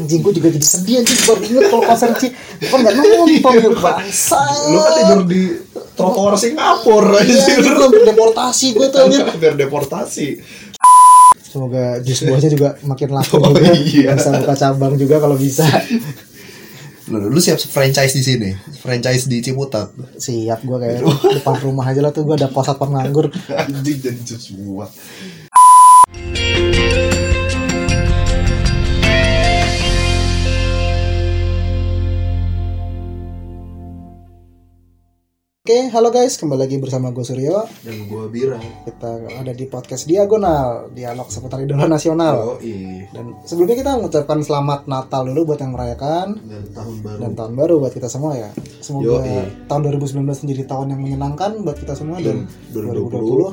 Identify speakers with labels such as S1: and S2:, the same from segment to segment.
S1: anjing gue juga jadi sedih anjing baru inget kalau konser Ci gue nggak nonton Iya, ya bangsa
S2: Lu kan tidur di trotoar Singapura
S1: Ah. iya,
S2: anjir.
S1: anjing, hampir deportasi gue tuh anjing
S2: Biar deportasi.
S1: semoga jus buahnya juga makin laku
S2: Oh,
S1: juga
S2: iya.
S1: bisa buka cabang juga kalau bisa
S2: Lu, Nah, lu siap franchise di sini, franchise di Ciputat.
S1: siap gue kayak depan rumah aja lah tuh gue ada pos satpam nganggur
S2: Anjing jadi jus buah.
S1: Oke, halo guys, kembali lagi bersama gue Suryo.
S2: Dan gua bilang,
S1: Kita ada di podcast Diagonal, dialog seputar idola nasional.
S2: oh iya.
S1: Dan sebelumnya kita mengucapkan selamat Natal dulu buat yang merayakan
S2: Dan tahun baru.
S1: dan tahun baru buat kita semua ya. Semoga
S2: Yoi.
S1: tahun 2019 menjadi tahun yang menyenangkan buat kita semua dan
S2: Iya, 2020.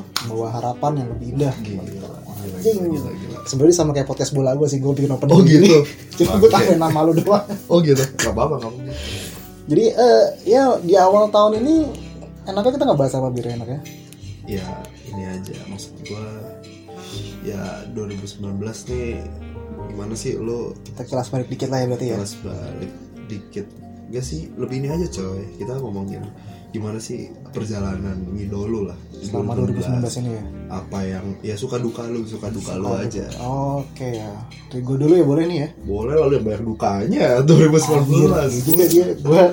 S1: 2020 membawa harapan yang lebih indah.
S2: Gila, gila, gila,
S1: Jing.
S2: gila, gila, gila.
S1: Sebenarnya sama kayak podcast bola gue sih, gue bikin opening
S2: Oh, gitu?
S1: gini. Cuma gue
S2: Oke.
S1: tambahin nama lu doang.
S2: Oh gitu. Gak apa-apa kamu.
S1: Jadi eh, ya di awal tahun ini enaknya kita nggak bahas apa bir enaknya.
S2: Ya ini aja maksud gua ya 2019 nih gimana sih lu
S1: Kita kelas balik dikit lah ya berarti ya.
S2: kelas balik dikit gak sih lebih ini aja coy kita ngomongin gimana sih perjalanan ngidol lu lah
S1: selama 2019 ini ya.
S2: apa yang ya suka duka lu suka duka lu aja
S1: Oke ya. Dari gue dulu ya boleh nih ya.
S2: boleh lah lu yang banyak dukanya 2019
S1: Juga gitu dia gue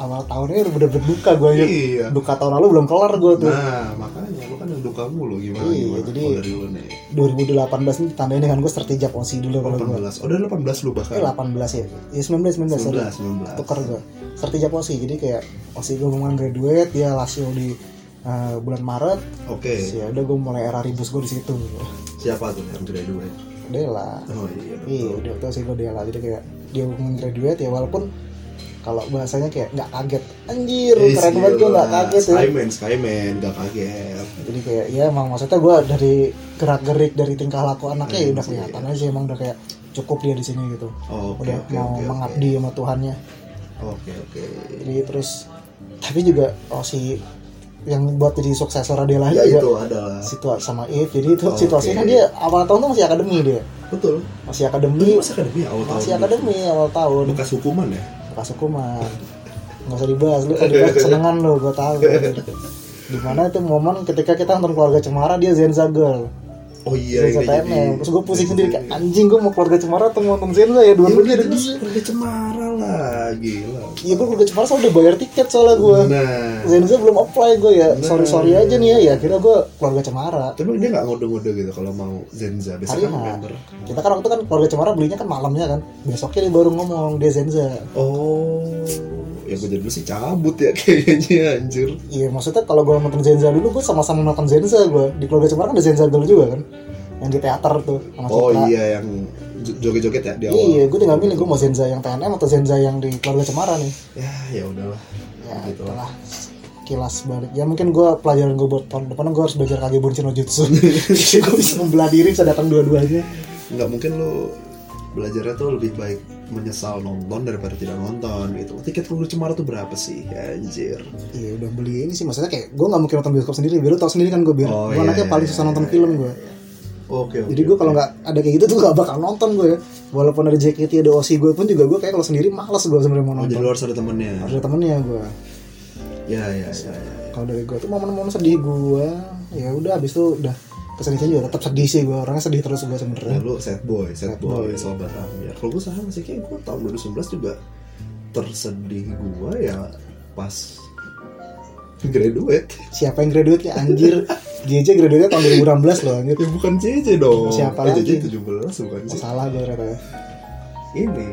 S1: awal tahunnya udah bener-bener duka gue ya.
S2: iya
S1: Duka tahun lalu belum kelar gue tuh.
S2: nah makanya lu kan yang duka mulu gimana
S1: Iya,
S2: gimana
S1: jadi-
S2: kalau dari lu nih
S1: 2018 ini ditandain dengan gue strategi posisi dulu kalau gue.
S2: 18 oh dari 18 lu
S1: Eh
S2: bahkan
S1: 18 ya. Ya 19 19 sorry.
S2: 19
S1: Tuker gue. Strategi posisi jadi kayak posisi gue mau graduate dia Lazio di eh, bulan Maret.
S2: oke
S1: Terus Ya udah gue mulai era ribus gue di situ.
S2: siapa tuh yang graduate
S1: Dela.
S2: oh iya betul.
S1: Iya, udah tau sih gue Dela jadi kayak dia ngomongin graduate ya walaupun kalau bahasanya kayak nggak kaget anjir
S2: Eh,
S1: keren banget gue nggak
S2: gila.
S1: kaget ya
S2: Skyman, Skyman, gak kaget
S1: jadi kayak ya emang maksudnya gue dari gerak gerik dari tingkah laku anaknya ya udah kelihatan aja emang udah kayak cukup dia di sini gitu
S2: Oh, oke,
S1: udah
S2: oke,
S1: mau
S2: oke,
S1: mengabdi sama Tuhannya
S2: Oke, oke
S1: jadi terus tapi juga oh si yang buat jadi suksesor Adela
S2: Ya
S1: juga
S2: itu adalah
S1: situasi sama Eve jadi itu
S2: Oke.
S1: situasinya dia awal tahun tuh masih akademi dia
S2: Betul
S1: masih
S2: Lu
S1: akademi
S2: masih akademi awal tahun
S1: masih akademi awal tahun
S2: Bekas hukuman ya?
S1: pas hukuman nggak usah dibahas lu kalau dibahas kesenangan lu gue tahu dimana itu momen ketika kita nonton keluarga cemara dia Zenza Girl
S2: Oh iya
S1: Zenza TNM terus gue pusing sendiri kayak anjing gue mau keluarga cemara atau mau nonton Zenza ya dua
S2: Iya,
S1: duanya
S2: ada
S1: ada
S2: bisa Keluarga cemara lah Gila
S1: Iya gue keluarga cemara soalnya udah bayar tiket soalnya gue
S2: Nah
S1: Zenza belum apply gue ya sorry sorry aja nih ya ya akhirnya gue keluarga cemara
S2: Tapi dia gak ngode-ngode gitu kalau mau Zenza
S1: hari
S2: Biasanya kan
S1: H
S2: member
S1: kita kan waktu itu kan keluarga cemara belinya kan malamnya kan besoknya dia baru ngomong dia Zenza
S2: Oh Ya gue jadi dulu sih cabut ya kayaknya anjir
S1: Iya maksudnya kalau gue nonton Zenza dulu gue sama-sama nonton Zenza gue di keluarga cemara kan ada Zenza dulu juga kan yang di teater tuh sama
S2: Oh
S1: Citra.
S2: iya yang jo- joget-joget ya di awal
S1: Iya, gue tinggal milih gue mau Zenza yang TNM atau Zenza yang di keluarga cemara nih
S2: Ya ya udahlah
S1: ya
S2: Gitu lah.
S1: itulah kilas balik ya mungkin gue pelajaran gue buat tahun depan gue harus belajar kage bunshin no jutsu gue bisa membelah diri bisa datang dua-duanya
S2: nggak mungkin lo belajarnya tuh lebih baik menyesal nonton daripada tidak nonton gitu tiket peluru cemara tuh berapa sih anjir
S1: iya udah beli ini sih maksudnya kayak gue nggak mungkin nonton bioskop sendiri biar lu tau sendiri kan gue biar
S2: Oh,
S1: gue
S2: iya,
S1: anaknya
S2: iya,
S1: paling susah nonton film gue
S2: oke oke.
S1: Jadi gue kalau nggak ada kayak gitu tuh gak bakal nonton gue ya. Walaupun ada JKT ada OC gue pun juga gue kayak kalau sendiri males gue sebenarnya mau
S2: Oh, jadi
S1: nonton.
S2: lo harus ada temennya
S1: Harus ada temennya gue.
S2: ya ya ya, ya.
S1: Kalau dari gue tuh momen-momen sedih gue, ya udah abis itu udah kesedihan juga tetap sedih sih gue orangnya sedih terus gue
S2: Nah,
S1: sebenarnya.
S2: lu sad boy, sad,
S1: Sad
S2: boy,
S1: boy.
S2: sobat Amir. Kalau gue sama sih kayak gue tahun 2019 juga tersedih gue ya pas graduate.
S1: Siapa yang graduate nya anjir? GJ graduate tahun 2016 loh anjir.
S2: Ya bukan JJ dong.
S1: Siapa
S2: eh,
S1: lagi?
S2: JJ 17 bukan
S1: Oh,
S2: sih.
S1: salah gue ternyata ya.
S2: Ini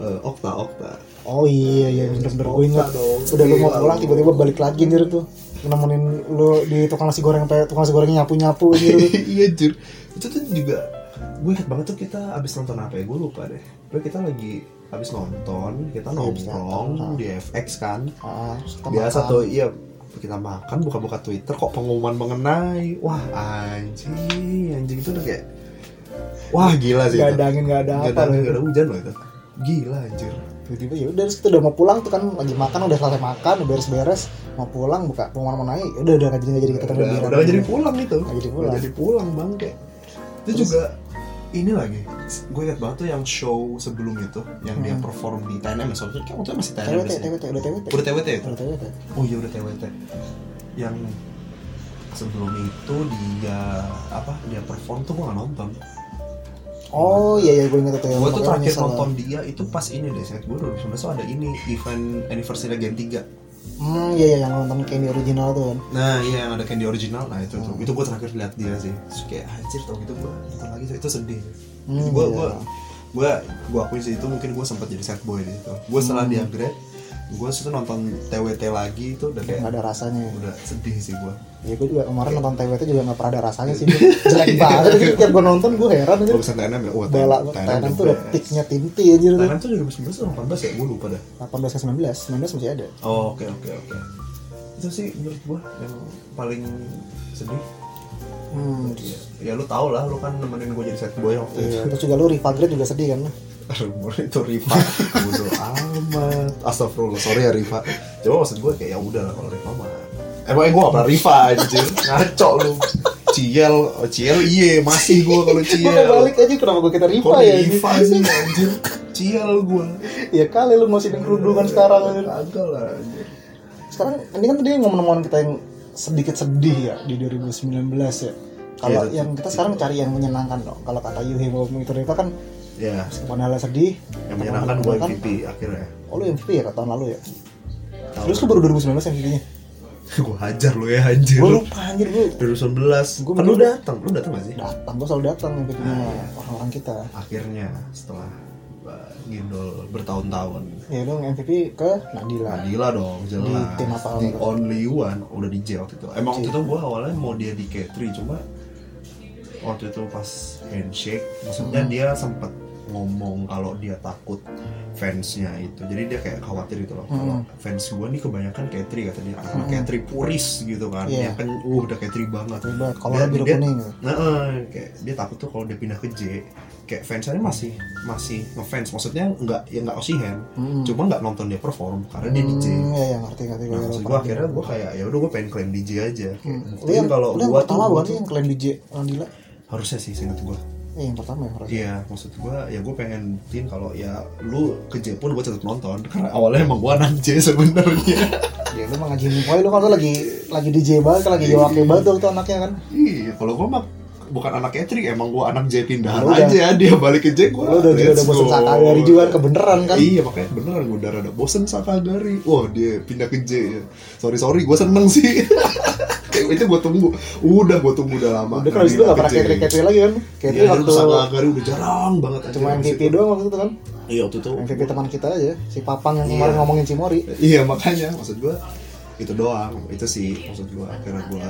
S2: eh, Okta Okta.
S1: Oh iya iya bener-bener gue ingat.
S2: dong.
S1: Udah lu mau
S2: Gila,
S1: pulang
S2: lu.
S1: tiba-tiba balik lagi anjir tuh nemenin lu di tukang nasi goreng sampai tukang nasi gorengnya nyapu-nyapu gitu.
S2: iya jur itu tuh juga gue ingat banget tuh kita abis nonton apa ya gue lupa deh tapi kita lagi abis nonton kita
S1: abis
S2: nongkrong di FX kan
S1: Ah, terus kita
S2: biasa
S1: makan.
S2: tuh iya kita makan buka-buka Twitter kok pengumuman mengenai wah anjing anjing itu udah kayak wah gila sih
S1: Gak
S2: itu
S1: ada angin, gak ada apa
S2: Nggak
S1: loh.
S2: ada angin, nggak ada hujan loh itu gila anjir
S1: tiba-tiba ya udah terus kita udah mau pulang tuh kan lagi makan udah selesai makan udah beres-beres mau pulang buka pengumuman mau naik udah udah nggak jadi nggak jadi kita
S2: gitu. udah, udah nggak jadi pulang itu
S1: Nggak jadi pulang.
S2: Nggak jadi pulang bang kayak itu juga ini lagi gue liat banget tuh yang show sebelum itu yang dia
S1: Hmm.
S2: perform di TNM ya soalnya kan waktu itu masih TNM
S1: TWT,
S2: biasanya.
S1: TWT, udah TWT.
S2: udah TWT itu
S1: Udah TWT.
S2: oh iya udah TWT yang sebelum itu dia apa dia perform tuh gue gak nonton
S1: Oh iya iya gue ingat itu.
S2: gue tuh
S1: Makanya
S2: terakhir
S1: nyesel.
S2: nonton dia itu pas ini deh saat gue 2019 tuh ada ini event anniversary Gen 3
S1: Hmm iya iya yang nonton Candy original tuh kan.
S2: nah iya yang ada Candy original nah itu tuh
S1: Hmm.
S2: itu gue terakhir lihat dia sih Terus kayak anjir tau gitu gue nonton lagi tuh itu sedih
S1: Hmm,
S2: gue
S1: iya.
S2: gue gue gue akuin sih itu mungkin gue sempat jadi sad boy di situ gue setelah
S1: Hmm.
S2: dia grad gue situ nonton TWT lagi itu udah
S1: Nggak
S2: kayak
S1: ada rasanya. ya.
S2: udah sedih sih gue
S1: Ya gue juga
S2: Iya.
S1: kemarin nonton TWT juga nggak pernah ada rasanya sih. Jelek banget. Tapi tiap gue nonton gue heran aja.
S2: Bagusan TNM ya? Wah,
S1: Bela Thailand tuh udah tiknya tinti aja tuh.
S2: TNM tuh 2019 atau 18 ya? Gue lupa dah
S1: 18 ke 19, 19 masih ada.
S2: Oh, oke oke oke Itu sih menurut gue yang paling sedih
S1: Hmm.
S2: Iya. Ya lu tau lah, lu kan nemenin gue jadi set boy waktu itu
S1: Iya, terus juga lu Riva Grade juga sedih kan?
S2: Rumor itu Riva Bodo amat Astagfirullah, sorry ya Riva Coba maksud gue kayak ya udah lah kalau Riva mah Emang gue gak pernah Riva anjir Ngaco lu Ciel, oh, Ciel iye masih gue kalau
S1: Gue
S2: Ciel
S1: balik aja kenapa gue kita Riva
S2: Iya. Kok
S1: ya?
S2: Riva sih anjir Ciel gue
S1: Ya kali lu masih
S2: Kan
S1: dengkerudungan sekarang. anjir.
S2: Kagak lah anjir
S1: Sekarang ini kan tadi ngomong-ngomongin kita yang sedikit sedih ya di 2019 ya. Kalau
S2: Iya,
S1: yang kita sekarang cari yang menyenangkan dong. Kalau kata Yuhi mau mengikuti Riva kan
S2: Ya,
S1: meskipun hal sedih,
S2: yang menyenangkan gitu. gue MVP akhirnya.
S1: Oh lu MVP ya tahun lalu ya? Terus lu baru 2019 MVP-nya?
S2: gue hajar Iya, lu ya anjir.
S1: Gue lupa anjir gue
S2: 2019.
S1: Gua
S2: Kan lu
S1: mikir-
S2: datang, lu datang gak sih?
S1: datang gue selalu datang
S2: Nah, iya.
S1: MVP-nya orang-orang kita.
S2: Akhirnya setelah uh, ngidol bertahun-tahun.
S1: Ya dong MVP ke Nadila.
S2: Nadila dong,
S1: Iya,
S2: jelas.
S1: tim apa
S2: The
S1: lu?
S2: only one udah di J waktu itu. Emang
S1: Iya.
S2: waktu itu gue awalnya mau dia di K3 cuma waktu itu pas handshake, maksudnya
S1: Hmm.
S2: dia sempet ngomong kalau dia takut fansnya itu jadi dia kayak khawatir gitu loh kalau
S1: Hmm.
S2: fans gue nih kebanyakan Katri kata dia karena Katri puris gitu kan
S1: Iya.
S2: dia kan uh udah Katri banget
S1: Tapi banget kalau
S2: Dia-
S1: lu biru
S2: dia-
S1: kuning. ya.
S2: Nah, eh, kayak dia takut tuh kalau dia pindah ke J, kayak fansnya masih masih ngefans, maksudnya nggak ya nggak osihen,
S1: Hmm.
S2: cuma nggak nonton dia perform karena dia di J.
S1: Hmm, ya ya ngerti ngerti gue.
S2: Nah, maksud gue akhirnya gue kayak ya udah gue pengen klaim di J aja. Kayak
S1: Lu
S2: buktiin
S1: yang
S2: kalau
S1: lu yang
S2: gue tuh,
S1: Iya, pertama
S2: gua
S1: bukan sih
S2: tuh-
S1: yang klaim DJ Nadila?
S2: harusnya sih seingat gue.
S1: Eh yang pertama ya harusnya.
S2: Iya, maksud gue ya gue pengen buktiin kalau ya lu ke J pun gue tetap nonton karena awalnya emang gue anak J sebenarnya.
S1: Ya lu mah ngajiin boy lu kan lu lagi lagi DJ banget kan lagi jawab banget tuh anaknya kan.
S2: Iya, kalau gue mah bukan anak Katri, emang gue anak J pindahan
S1: Lu udah-
S2: aja dia balik ke J gue.
S1: Lu udah juga udah bosan Sakagari juga kan kebeneran kan.
S2: Iya makanya bener gue udah rada bosen Sakagari Wah dia pindah ke J ya. Sorry sorry gue seneng sih Kayak itu gue tunggu Udah gue tunggu udah lama
S1: Udah kan abis itu gak pernah
S2: Pindah
S1: kayak
S2: ke J.
S1: KTP lagi kan. KTP
S2: Iya waktu
S1: waktu
S2: Sakagari udah jarang banget anjir,
S1: cuma
S2: abis
S1: MVP
S2: itu.
S1: doang waktu itu kan.
S2: Iya waktu itu
S1: MVP teman kita aja si Papang yang
S2: Iya.
S1: kemarin ngomongin Cimori.
S2: Iya makanya maksud gue itu doang itu sih maksud gue akhirnya gue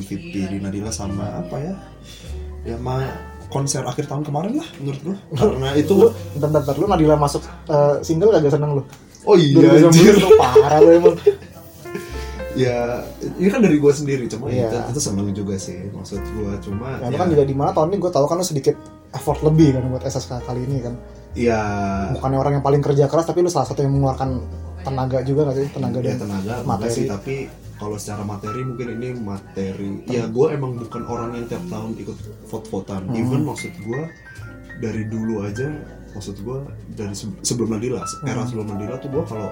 S2: MVP di Nadila sama apa ya ya sama konser akhir tahun kemarin lah menurut gue karena itu
S1: Lu bentar bentar, bentar. lu Nadila masuk eh, single kagak seneng lu.
S2: oh iya
S1: 2019
S2: anjir
S1: tuh parah lu emang.
S2: ya ini kan dari gue sendiri cuma
S1: Iya.
S2: itu, itu seneng juga sih maksud gue cuma
S1: Ya, lu
S2: ya,
S1: kan juga di mana tahun ini gue tahu kan lu sedikit effort lebih kan buat SSK kali ini kan.
S2: ya,
S1: Bukannya orang yang paling kerja keras tapi lu salah satu yang mengeluarkan tenaga juga nggak sih tenaga
S2: ya
S1: dan
S2: tenaga materi
S1: materi.
S2: sih tapi kalau secara materi mungkin ini materi ya gue emang bukan orang yang tiap tahun ikut vote-votan
S1: Hmm.
S2: even maksud gue dari dulu aja maksud gue dari se- sebelum Nadila
S1: Hmm.
S2: era sebelum Nadila tuh gue kalau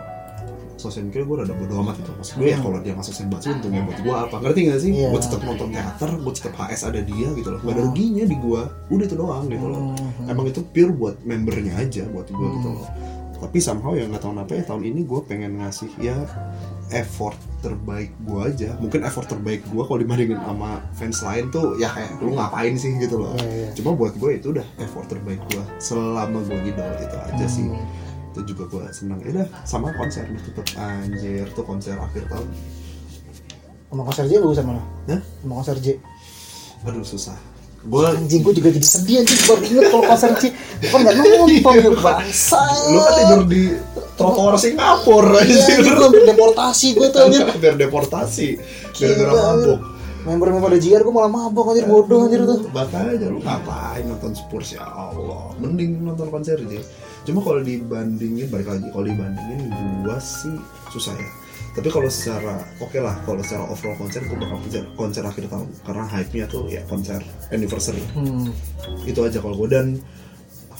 S2: sosial media gue rada bodo amat gitu maksud gue ya kalau dia masuk senbatsu untungnya ya buat gue apa ngerti gak sih
S1: Hmm. Iya. Hmm.
S2: buat tetap nonton teater buat tetap HS ada dia gitu loh gak ada ruginya di gue udah itu doang gitu loh emang itu pure buat membernya aja buat gue gitu
S1: Hmm.
S2: loh tapi somehow ya nggak tahu kenapa ya tahun ini gue pengen ngasih ya effort terbaik gue aja mungkin effort terbaik gue kalau dibandingin sama fans lain tuh ya kayak lu ngapain sih gitu loh
S1: Iya, iya.
S2: cuma buat gue itu udah effort terbaik gue selama gue ngidol itu aja sih
S1: Hmm.
S2: itu juga gue senang ya udah sama konser nih tetep anjir tuh konser akhir tahun
S1: Sama konser J bagusan mana?
S2: Hah?
S1: Sama konser J.
S2: aduh susah gue
S1: Anjing gue juga jadi sedih anjing baru inget kalau konser J. Gue nggak nonton ya bangsa.
S2: lu kan tidur di trotoar
S1: Iya,
S2: Singapura anjir
S1: anjing, gua hampir deportasi gue tuh anjir.
S2: biar deportasi gara-gara
S1: Gila, anjir.
S2: mabuk
S1: Member-member JR gue malah mabok anjir bodoh anjir tuh.
S2: makanya lu ngapain nonton Spurs ya Allah mending nonton konser aja cuma kalau dibandingin balik lagi kalau dibandingin gua sih susah ya tapi kalau secara oke lah kalau secara overall konser gue bakal konser, konser akhir tahun karena hype nya tuh ya konser anniversary
S1: Hmm.
S2: itu aja kalau gue dan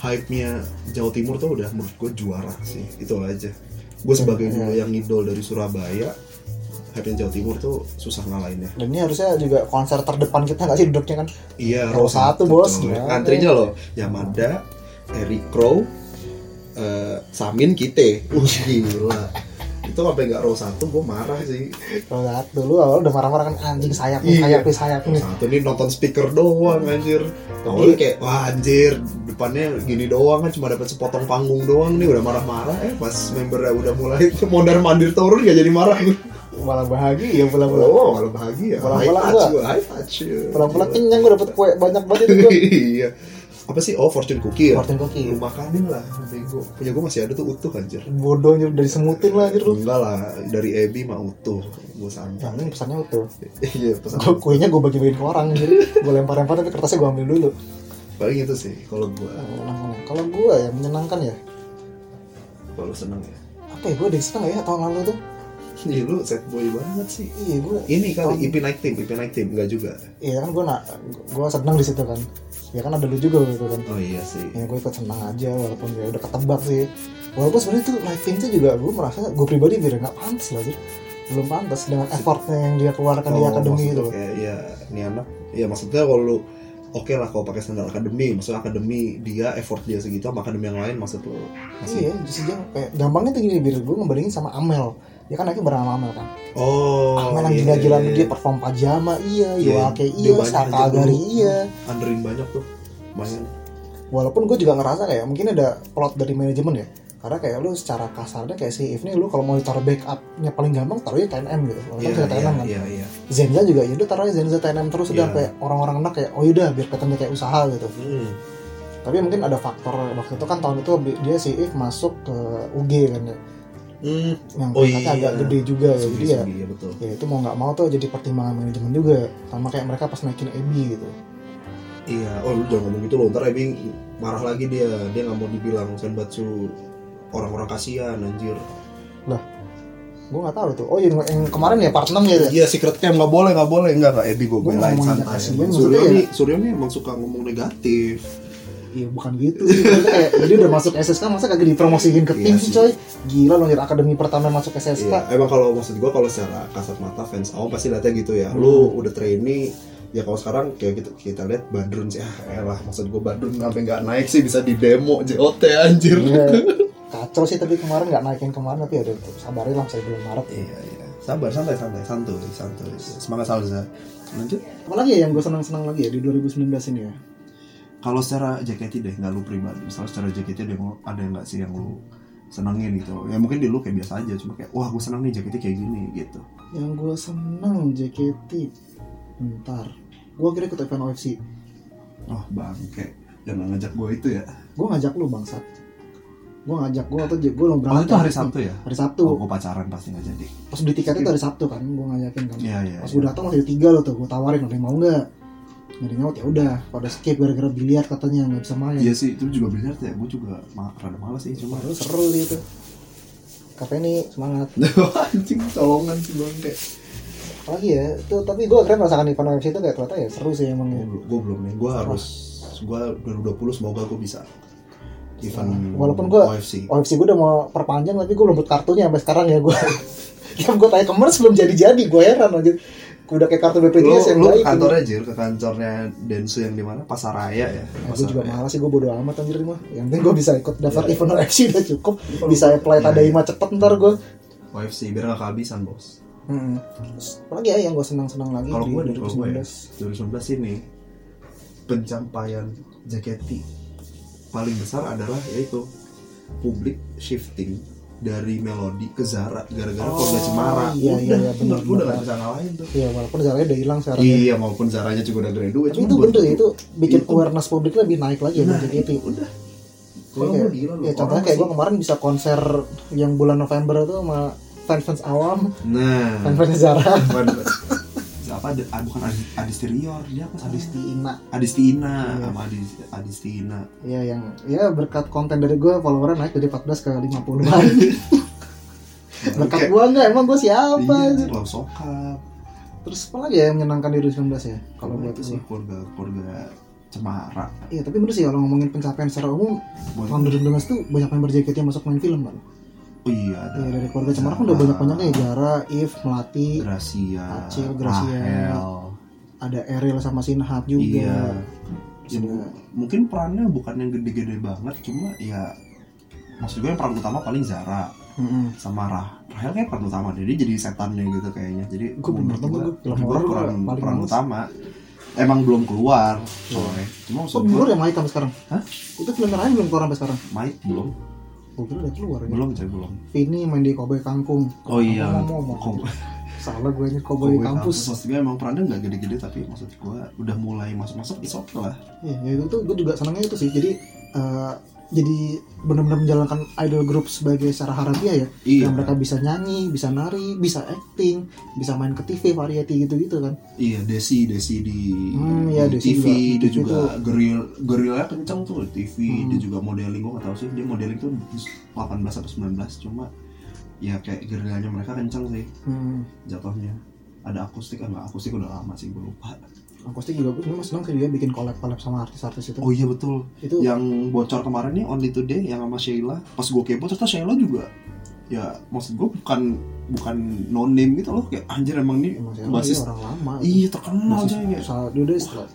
S2: hype nya Jawa Timur tuh udah menurut gue juara sih itu aja gue sebagai
S1: Iya.
S2: yang idol dari Surabaya hype nya Jawa Timur tuh susah ngalahinnya
S1: Dan ini harusnya juga konser terdepan kita nggak sih duduknya kan?
S2: iya
S1: Row
S2: Row
S1: satu, bos.
S2: coy.
S1: Gimana?
S2: antrinya loh Yamada Eric Crow eh, Samin Kite uh
S1: Iya.
S2: gila itu sampai nggak row satu gue marah sih
S1: Kalau saat dulu awal udah marah-marah kan anjing sayap nih,
S2: Iya.
S1: sayap nih, sayap nih.
S2: satu nih nonton speaker doang anjir awalnya kayak wah anjir depannya gini doang kan cuma dapat sepotong panggung doang nih udah marah-marah eh pas membernya udah mulai mondar mandir turun gak jadi marah gue
S1: Malah bahagia, pulang-pulang.
S2: oh malah bahagia
S1: Pulang-pulang
S2: high touch
S1: gua.
S2: gue high touch
S1: Pulang-pulang kenyang gue dapet kue banyak banget itu gue.
S2: iya apa sih oh fortune cookie ya
S1: Martin Koki.
S2: lu makanin lah bego punya gue masih ada tuh utuh anjir
S1: Bodohnya udah disemutin lah gitu. anjir lu.
S2: enggak lah dari Ebi mah utuh gue
S1: Yang
S2: santai
S1: penting Nah, pesannya utuh.
S2: iya pesan
S1: Gue kuenya gue bagi-bagiin ke orang anjir. Gue lempar-lempar tapi kertasnya gue ambil dulu.
S2: paling itu sih kalau gue
S1: Nah, menyenangkan. Kalau gue ya menyenangkan ya.
S2: kalau seneng ya
S1: Apa ya gue ada yang seneng nggak ya tahun lalu tuh?
S2: Iya lu sad boy banget sih
S1: Iya gue.
S2: ini kali IP naik tim IP naik tim enggak juga
S1: Iya kan gue nak gue seneng di situ kan. Ya kan ada lu juga gitu kan.
S2: oh iya sih
S1: ya gue ikut senang aja walaupun ya udah ketebak sih walaupun sebenarnya tuh living tuh juga gue merasa gue pribadi biar nggak pantas lah Jir. belum pantas dengan effortnya yang dia
S2: Kan
S1: keluarkan di akademi
S2: Oh, maksudnya
S1: gitu loh
S2: kayak ya ini anak ya maksudnya kalau lu oke lah kalau pakai standar akademi maksudnya akademi dia effort dia segitu sama akademi yang lain maksud lu masih
S1: iya justru dia kayak gampangnya tuh gini biar gue ngebandingin sama Amel dia kan akhirnya bareng sama Amel kan
S2: oh
S1: Amel yang
S2: iya,
S1: gila-gilaan
S2: iya,
S1: dia perform pajama iya
S2: Iya,
S1: Iwake
S2: dia
S1: iya
S2: banyak aja
S1: Sakagari
S2: dulu.
S1: iya
S2: anderin banyak tuh lumayan
S1: walaupun gue juga ngerasa kayak mungkin ada plot dari manajemen ya karena kayak lu secara kasarnya kayak si If nih lu kalau mau taruh backupnya paling gampang taruhnya KNM gitu walaupun
S2: iya
S1: sudah
S2: iya
S1: TNM kan
S2: iya iya
S1: Zenza juga ya udah taruhnya Zenza TNM terus udah
S2: Iya.
S1: kayak orang-orang enak kayak oh yaudah biar katanya kayak usaha gitu
S2: Hmm,
S1: tapi mungkin ada faktor waktu itu kan tahun itu bi- dia si If masuk ke UG kan ya
S2: hmm.
S1: yang
S2: Oh,
S1: kontraknya
S2: iya.
S1: agak gede juga ya jadi ya,
S2: Segi-segi, iya betul
S1: ya itu mau nggak mau tuh jadi pertimbangan manajemen juga sama kayak mereka pas naikin EB gitu
S2: iya oh lu jangan ngomong gitu loh ntar Ebi marah lagi dia dia nggak mau dibilang senbatsu orang-orang kasihan anjir
S1: gue nggak tahu tuh oh yang, yang kemarin ya part 6 ya ya?
S2: Iya secret cam nggak boleh nggak boleh nggak nggak Ebi gue
S1: Gua
S2: belain
S1: ngomongin
S2: santai.
S1: kasihan,
S2: Emang
S1: maksudnya
S2: Suryo
S1: ya-
S2: nih Suryo nih emang suka ngomong negatif.
S1: iya bukan gitu sih Maksudnya kayak jadi udah masuk SSK masa kagak dipromosiin ke
S2: Iya
S1: tim
S2: sih.
S1: sih coy gila loh nyari akademi pertama masuk SSK
S2: Iya emang kalau maksud gue kalau secara kasat mata fans awam pasti lihatnya gitu ya. Lu udah trainee ya kalau sekarang kayak gitu kita lihat Badrun sih ah elah maksud gue Badrun sampai nggak naik sih bisa di demo JOT anjir.
S1: Iya. kacau sih tapi kemarin nggak naikin kemarin tapi ya udah sabarin lah saya belum Maret
S2: Iya iya sabar santai santai santuy santuy semangat Salza lanjut
S1: Apalagi ya yang gue senang-senang lagi ya di 2019 ini ya.
S2: kalau secara JKT deh nggak lu pribadi misalnya secara JKT ada yang lu- ada nggak sih yang lu senengin gitu ya mungkin di lu kayak biasa aja cuma kayak wah gue seneng nih JKT kayak gini gitu
S1: Yang gue senang JKT. Bentar. Gue akhirnya ikut event OFC.
S2: Oh bangke Jangan ngajak gue itu ya
S1: Gue ngajak lu bangsat. Gue ngajak gue atau gue lo
S2: Kalau
S1: berangkat.
S2: Oh, itu hari Sabtu ya?
S1: Hari Sabtu.
S2: Oh, gue pacaran pasti gak jadi
S1: Pas beli tiket itu hari Sabtu kan. Gue ngajakin kan.
S2: Iya iya
S1: Pas
S2: iya.
S1: gue datang masih ada tiga lo tuh. Gue tawarin ada yang mau nggak? Nggak ada yang nyaut ya udah. Pada skip gara-gara biliar katanya nggak bisa main.
S2: Iya sih, itu juga benar ya Gue juga ma- rada males sih cuma
S1: Baru seru sih itu. Katanya nih semangat.
S2: Anjing, colongan sih bangke
S1: Apalagi ya. Itu tapi gue akhirnya merasakan event OFC itu kayak ternyata ya seru sih emang. ya.
S2: Gue belum nih, gue harus Gue 2020 semoga gue bisa Event
S1: Walaupun gua- Oh,
S2: OFC
S1: OFC gue udah mau perpanjang tapi gue belum dapat kartunya sampai sekarang ya gue tiap gue tanya kemarin sebelum jadi-jadi gue heran aja udah kayak kartu
S2: Lu,
S1: BPJS yang
S2: lu ke
S1: baik
S2: kantornya Jir, ke kantornya Densu yang di mana? Pasaraya ya?
S1: gue juga malas sih gue bodo amat anjir mah yang penting gue bisa ikut daftar
S2: Iya.
S1: event OFC udah cukup bisa apply tadaima cepet ntar gue
S2: OFC, biar gak kehabisan bos
S1: hmm. Terus, apalagi ya yang gue senang-senang lagi
S2: Kalau
S1: di
S2: gue dari kalau gue ya
S1: 2019.
S2: 2019 ini pencapaian JKT paling besar adalah yaitu publik shifting dari melodi ke Zara gara-gara
S1: Oh,
S2: keluarga Cemara.
S1: iya, iya, iya,
S2: bener,
S1: bener,
S2: gue udah
S1: bener.
S2: gak bisa ngalahin tuh.
S1: Iya, walaupun caranya udah hilang sekarang ya.
S2: Iya, maupun Zaranya juga Iya. udah graduate.
S1: tapi
S2: cuman
S1: itu
S2: buat
S1: bener sih, itu bikin
S2: itu-
S1: awareness publik lebih naik lagi ya
S2: Nah,
S1: buat JKT
S2: itu udah. Kalau
S1: Kayak-
S2: gue gila loh.
S1: ya contohnya kayak gue kemarin bisa konser yang bulan November itu sama fans-fans awam
S2: Nah,
S1: fans-fans Zara
S2: bukan- apa ada, ah, bukan Adi- Adisterior dia apa Adisti
S1: Adistina
S2: Adistina
S1: Iya.
S2: sama Adis, Adistina
S1: ya yang ya berkat konten dari gue followernya naik dari 14 ke 50 an Lekat gua nggak emang gua siapa
S2: iya,
S1: anjir.
S2: lau sokap
S1: Terus apa lagi ya yang menyenangkan di 2019 ya? Kalau buat
S2: itu
S1: gua.
S2: sih keluarga keluarga cemara
S1: Iya tapi bener sih kalau ngomongin pencapaian secara umum tahun 2019 tuh banyak member JKT yang masuk main film kan.
S2: oh iya ada
S1: Ya, dari keluarga Cemara kan udah
S2: Iya.
S1: banyak banyaknya ya Jara, If, Melati,
S2: Gracia
S1: Iya. Acil, Gracia.
S2: Rahel
S1: ada Eril sama Sinhab juga.
S2: iya
S1: Terus
S2: Ya,
S1: ada-
S2: bu- mungkin perannya bukan yang gede-gede banget cuma ya maksud gue yang peran utama paling Zara
S1: Mm-mm.
S2: sama Rah Rahel kayak peran utama deh, dia jadi setannya gitu kayaknya jadi
S1: Gua belum nonton,
S2: menurut
S1: gua film
S2: gua
S1: horor
S2: peran,
S1: gua paling
S2: peran
S1: males.
S2: utama emang belum keluar
S1: Iya.
S2: soalnya cuma maksud
S1: Oh,
S2: gue
S1: belum ya Maika sampai sekarang?
S2: Hah?
S1: Itu film terakhir belum keluar sampai sekarang?
S2: Mike belum
S1: Oh, kira udah keluar ya.
S2: belum coy belum
S1: Vini main di Koboi Kangkung.
S2: oh iya
S1: Ngomong-ngomong.
S2: Kok-
S1: Salah gue ini
S2: Kalau
S1: Koboi
S2: gue
S1: Kampus.
S2: kampus maksud gue emang perannya nggak gede-gede tapi maksud gue udah mulai masuk-masuk it's okay lah
S1: Iya, ya itu tuh gue juga senangnya itu sih. Jadi eh, jadi benar-benar menjalankan idol group sebagai secara harfiah ya.
S2: iya
S1: Yang mereka bisa nyanyi, bisa nari, bisa acting, bisa main ke TV, variety gitu-gitu kan.
S2: iya Desi Desi di,
S1: Hmm, iya,
S2: di
S1: Desi
S2: TV
S1: juga.
S2: dia
S1: Di
S2: juga
S1: TV
S2: geril gerilnya kenceng tuh di TV
S1: Hmm.
S2: dia juga modeling gue nggak tahu sih dia modeling tuh 18 atau 19 cuma ya kayak gerilanya mereka kenceng sih
S1: Hmm.
S2: jatuhnya ada akustik ah, nggak akustik udah lama sih gue lupa
S1: Angkosnya juga gue sebenarnya seneng sih dia bikin collab-collab sama artis-artis itu.
S2: oh iya betul
S1: itu
S2: yang bocor kemarin nih Only Today yang sama Sheila pas gue kepo ternyata Sheila juga ya maksud gue bukan bukan no name gitu loh kayak anjir emang nih
S1: emang siapa
S2: basis
S1: dia orang lama.
S2: iya terkenal
S1: Masih
S2: aja ya
S1: salah dia udah setelah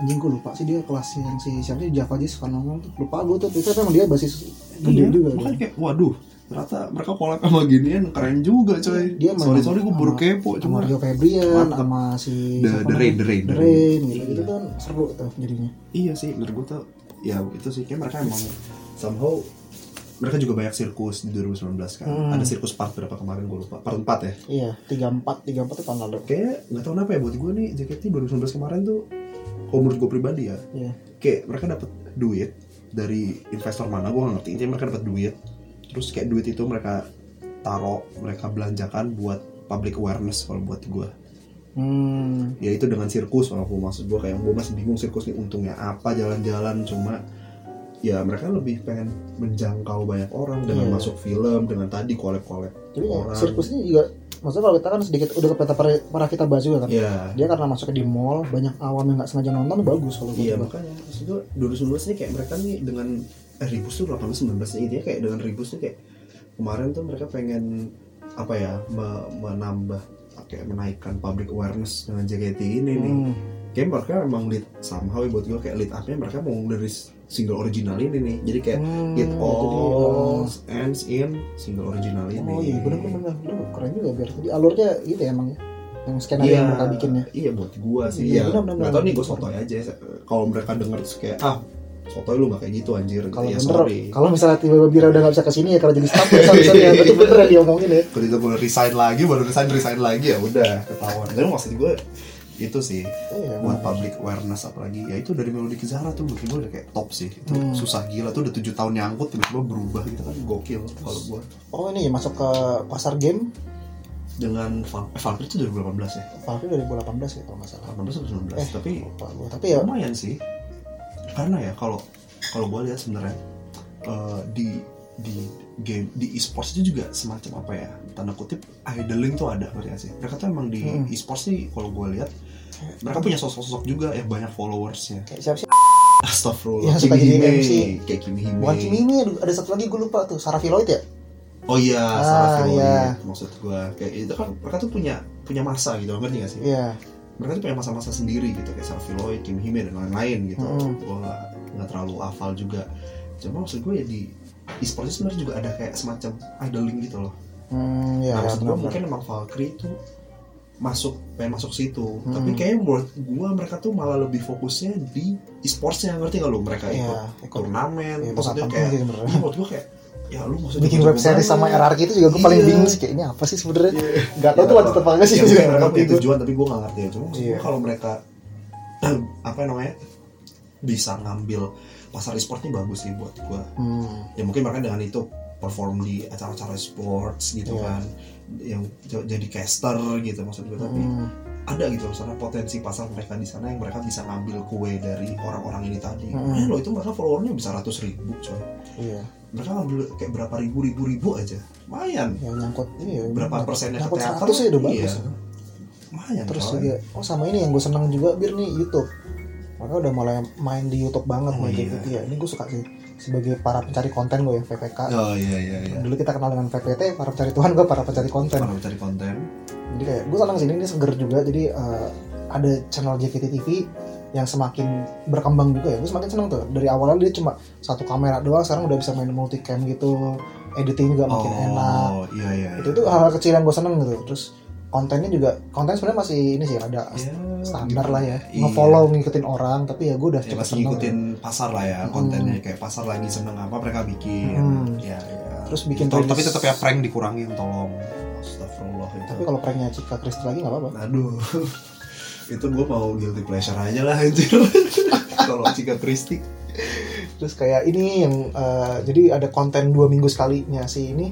S1: anjing gue lupa sih dia kelas yang si siapa sih Java aja suka nongol tuh lupa gue tuh itu emang dia basis gede
S2: Iya,
S1: juga
S2: makanya
S1: dia.
S2: kayak waduh ternyata mereka collab sama ginian keren juga
S1: Iya,
S2: coy
S1: Dia main
S2: sorry sorry gue
S1: sama-
S2: baru kepo
S1: sama
S2: cuma
S1: Rio Febrian
S2: Mantap.
S1: sama si
S2: The-
S1: siapa
S2: The Rain,
S1: namanya?
S2: The Rain,
S1: The
S2: The Rain.
S1: Rain gitu gitu
S2: Iya.
S1: kan seru tuh jadinya
S2: iya sih menurut gue tuh ya itu sih kayak mereka emang somehow mereka juga banyak sirkus di 2019 kan
S1: Hmm.
S2: ada sirkus part berapa kemarin gue lupa part 4 ya
S1: iya tiga empat tiga empat tuh kan tahun lalu
S2: kayak nggak tahu kenapa ya buat gue nih JKT 2019 kemarin tuh kalau menurut gue pribadi ya
S1: iya
S2: kayak mereka dapat duit dari investor mana gue nggak ngerti intinya mereka dapat duit terus kayak duit itu mereka taruh mereka belanjakan buat public awareness kalau buat gue
S1: hmm
S2: yaitu dengan sirkus walaupun maksud gue kayak gue masih bingung sirkus nih untungnya apa jalan-jalan cuma ya mereka lebih pengen menjangkau banyak orang dengan
S1: Iya.
S2: masuk film dengan tadi collab-collab
S1: jadi ya,
S2: Orang.
S1: sirkusnya juga maksudnya kalau kita kan sedikit udah kita pernah kita bahas juga kan
S2: ya
S1: dia karena masuk di mall banyak awam yang nggak sengaja nonton bagus kalau
S2: Iya
S1: gue
S2: makanya maksud gue 2019 nih kayak mereka nih dengan eh Ribus tuh 18 19 nih intinya kayak dengan Ribus tuh kayak kemarin tuh mereka pengen apa ya me- menambah kayak menaikkan public awareness dengan JKT ini nih
S1: hmm.
S2: kayak mereka emang lead somehow ya buat gue kayak lead upnya mereka mau dari single original ini nih jadi kayak
S1: Hmm,
S2: it
S1: jadi,
S2: all
S1: eh,
S2: ends in single original ini
S1: Oh iya benar benar lu keren juga biar jadi alurnya gitu ya emang ya yang skenario yang mereka bikin ya
S2: Iya buat gua sih.
S1: Iya,
S2: Iya.
S1: benar, benar,
S2: Gak tau
S1: benar.
S2: nih gua sotoy aja. Kalau mereka denger terus kayak ah sotoy lu gak kayak gitu anjir. Gitu.
S1: kalau
S2: ya,
S1: bener
S2: sorry.
S1: kalau misalnya tiba-tiba Bira udah nggak bisa kesini ya kalau jadi staff ya sorry sorry ya itu bener yang diomongin ya
S2: Kalau itu boleh resign lagi, baru resign resign lagi ya udah ketahuan. Tapi maksud gua itu sih
S1: iya
S2: buat public awareness apalagi ya itu dari Melody Kezara tuh menurut gue udah kayak top sih itu
S1: Hmm.
S2: susah gila tuh udah tujuh tahun nyangkut tiba-tiba berubah gitu kan gokil kalau gua
S1: oh ini ya, masuk ke pasar game
S2: dengan Val- eh, Valkyrie itu 2018 ya
S1: Valve 2018 ya kalau nggak salah
S2: 18 atau 19
S1: Eh.
S2: tapi
S1: lupa gue tapi ya
S2: lumayan sih karena ya kalau kalau gue lihat sebenarnya eh, di di game di esports itu juga semacam apa ya tanda kutip idling tuh ada ngerti nggak sih mereka tuh emang di
S1: Hmm. ya?
S2: esports sih kalau gue lihat mereka punya sosok-sosok juga yang banyak followersnya
S1: kayak siapa sih
S2: Astagfirullah
S1: Ya, suka jadi MC.
S2: kayak Kimi Hime
S1: bukan Kimi ini aduh, ada satu lagi gue lupa tuh Sarah Filoid ya
S2: oh iya
S1: Ah,
S2: Sarah Filoid.
S1: iya.
S2: maksud gue kayak itu kan mereka tuh punya punya masa gitu ngerti nggak sih
S1: iya
S2: mereka tuh punya masa-masa sendiri gitu kayak Sarah Filoid, Kim Hime dan lain-lain gitu.
S1: Mm.
S2: Gue nggak nggak terlalu hafal juga. Cuma maksud gue ya di e-sports sebenarnya juga ada kayak semacam idling gitu loh.
S1: hmm iya
S2: nah, maksud gue
S1: benar-benar.
S2: mungkin emang Valkyrie itu masuk pengen masuk situ
S1: Mm.
S2: tapi kayaknya buat gue mereka tuh malah lebih fokusnya di e-sportsnya ngerti nggak lo mereka
S1: iya
S2: ikut
S1: ikut
S2: turnamen
S1: Iya,
S2: maksudnya
S1: penting
S2: kayak
S1: sih sebenarnya.
S2: iya, menurut gue kayak ya lu maksudnya
S1: bikin web series sama RRQ itu juga gue paling bingung sih kayak ini apa sih
S2: Iya.
S1: sebenarnya nggak tahu tuh lanjut apa enggak sih
S2: ya,
S1: juga
S2: mungkin mereka punya
S1: ngerti gue
S2: tujuan tapi gue gak ngerti ya cuma maksud
S1: gitu. Iya.
S2: gue kalau mereka apa namanya bisa ngambil pasar e-sport ini bagus sih buat gue
S1: hmm
S2: ya mungkin mereka dengan itu perform di acara-acara sports gitu
S1: Iya.
S2: kan yang j- jadi caster gitu maksud gue tapi
S1: Hmm.
S2: ada gitu misalnya potensi pasar mereka di sana yang mereka bisa ngambil kue dari orang-orang ini tadi
S1: Hmm.
S2: Eh, loh itu mereka followernya bisa ratus ribu coy
S1: iya
S2: mereka ngambil kayak berapa ribu ribu ribu aja lumayan
S1: yang nyangkut ini ya
S2: Berapa
S1: nyangkut-
S2: persennya ke
S1: nyangkut
S2: teater,
S1: 100 ya udah
S2: iya.
S1: bagus ya.
S2: lumayan
S1: terus
S2: coy.
S1: juga oh sama ini yang gue seneng juga bir nih YouTube mereka udah mulai main di YouTube banget
S2: Oh,
S1: main kayak
S2: iya.
S1: gitu ya ini gue suka sih sebagai para pencari konten gue ya PPK
S2: oh iya iya iya
S1: dulu kita kenal dengan PPT para pencari Tuhan gue para pencari konten
S2: orang cari konten
S1: jadi kayak gue senang sih ini ini seger juga jadi eh, ada channel JKT TV yang semakin berkembang juga ya gue semakin seneng tuh dari awalnya dia cuma satu kamera doang sekarang udah bisa main multicam gitu editing juga makin enak
S2: oh iya iya
S1: itu tuh hal-hal kecil yang gue seneng gitu terus kontennya juga konten sebenarnya masih ini sih ada
S2: Ya,
S1: standar
S2: gitu.
S1: lah ya
S2: Iya.
S1: ngefollow ngikutin orang tapi ya gue udah
S2: ya
S1: cepet
S2: pasti
S1: seneng
S2: ngikutin pasar lah ya kontennya kayak pasar lagi seneng apa mereka bikin
S1: Hmm.
S2: ya, ya.
S1: Terus bikin
S2: Tol-
S1: playlist.
S2: tapi tetap ya prank dikurangin tolong astagfirullah itu
S1: tapi kalau pranknya Cika Kristi lagi nggak apa-apa
S2: aduh itu gue mau guilty pleasure aja lah anjir kalau Cika Kristi
S1: terus kayak ini yang eh, jadi ada konten dua minggu sekalinya si ini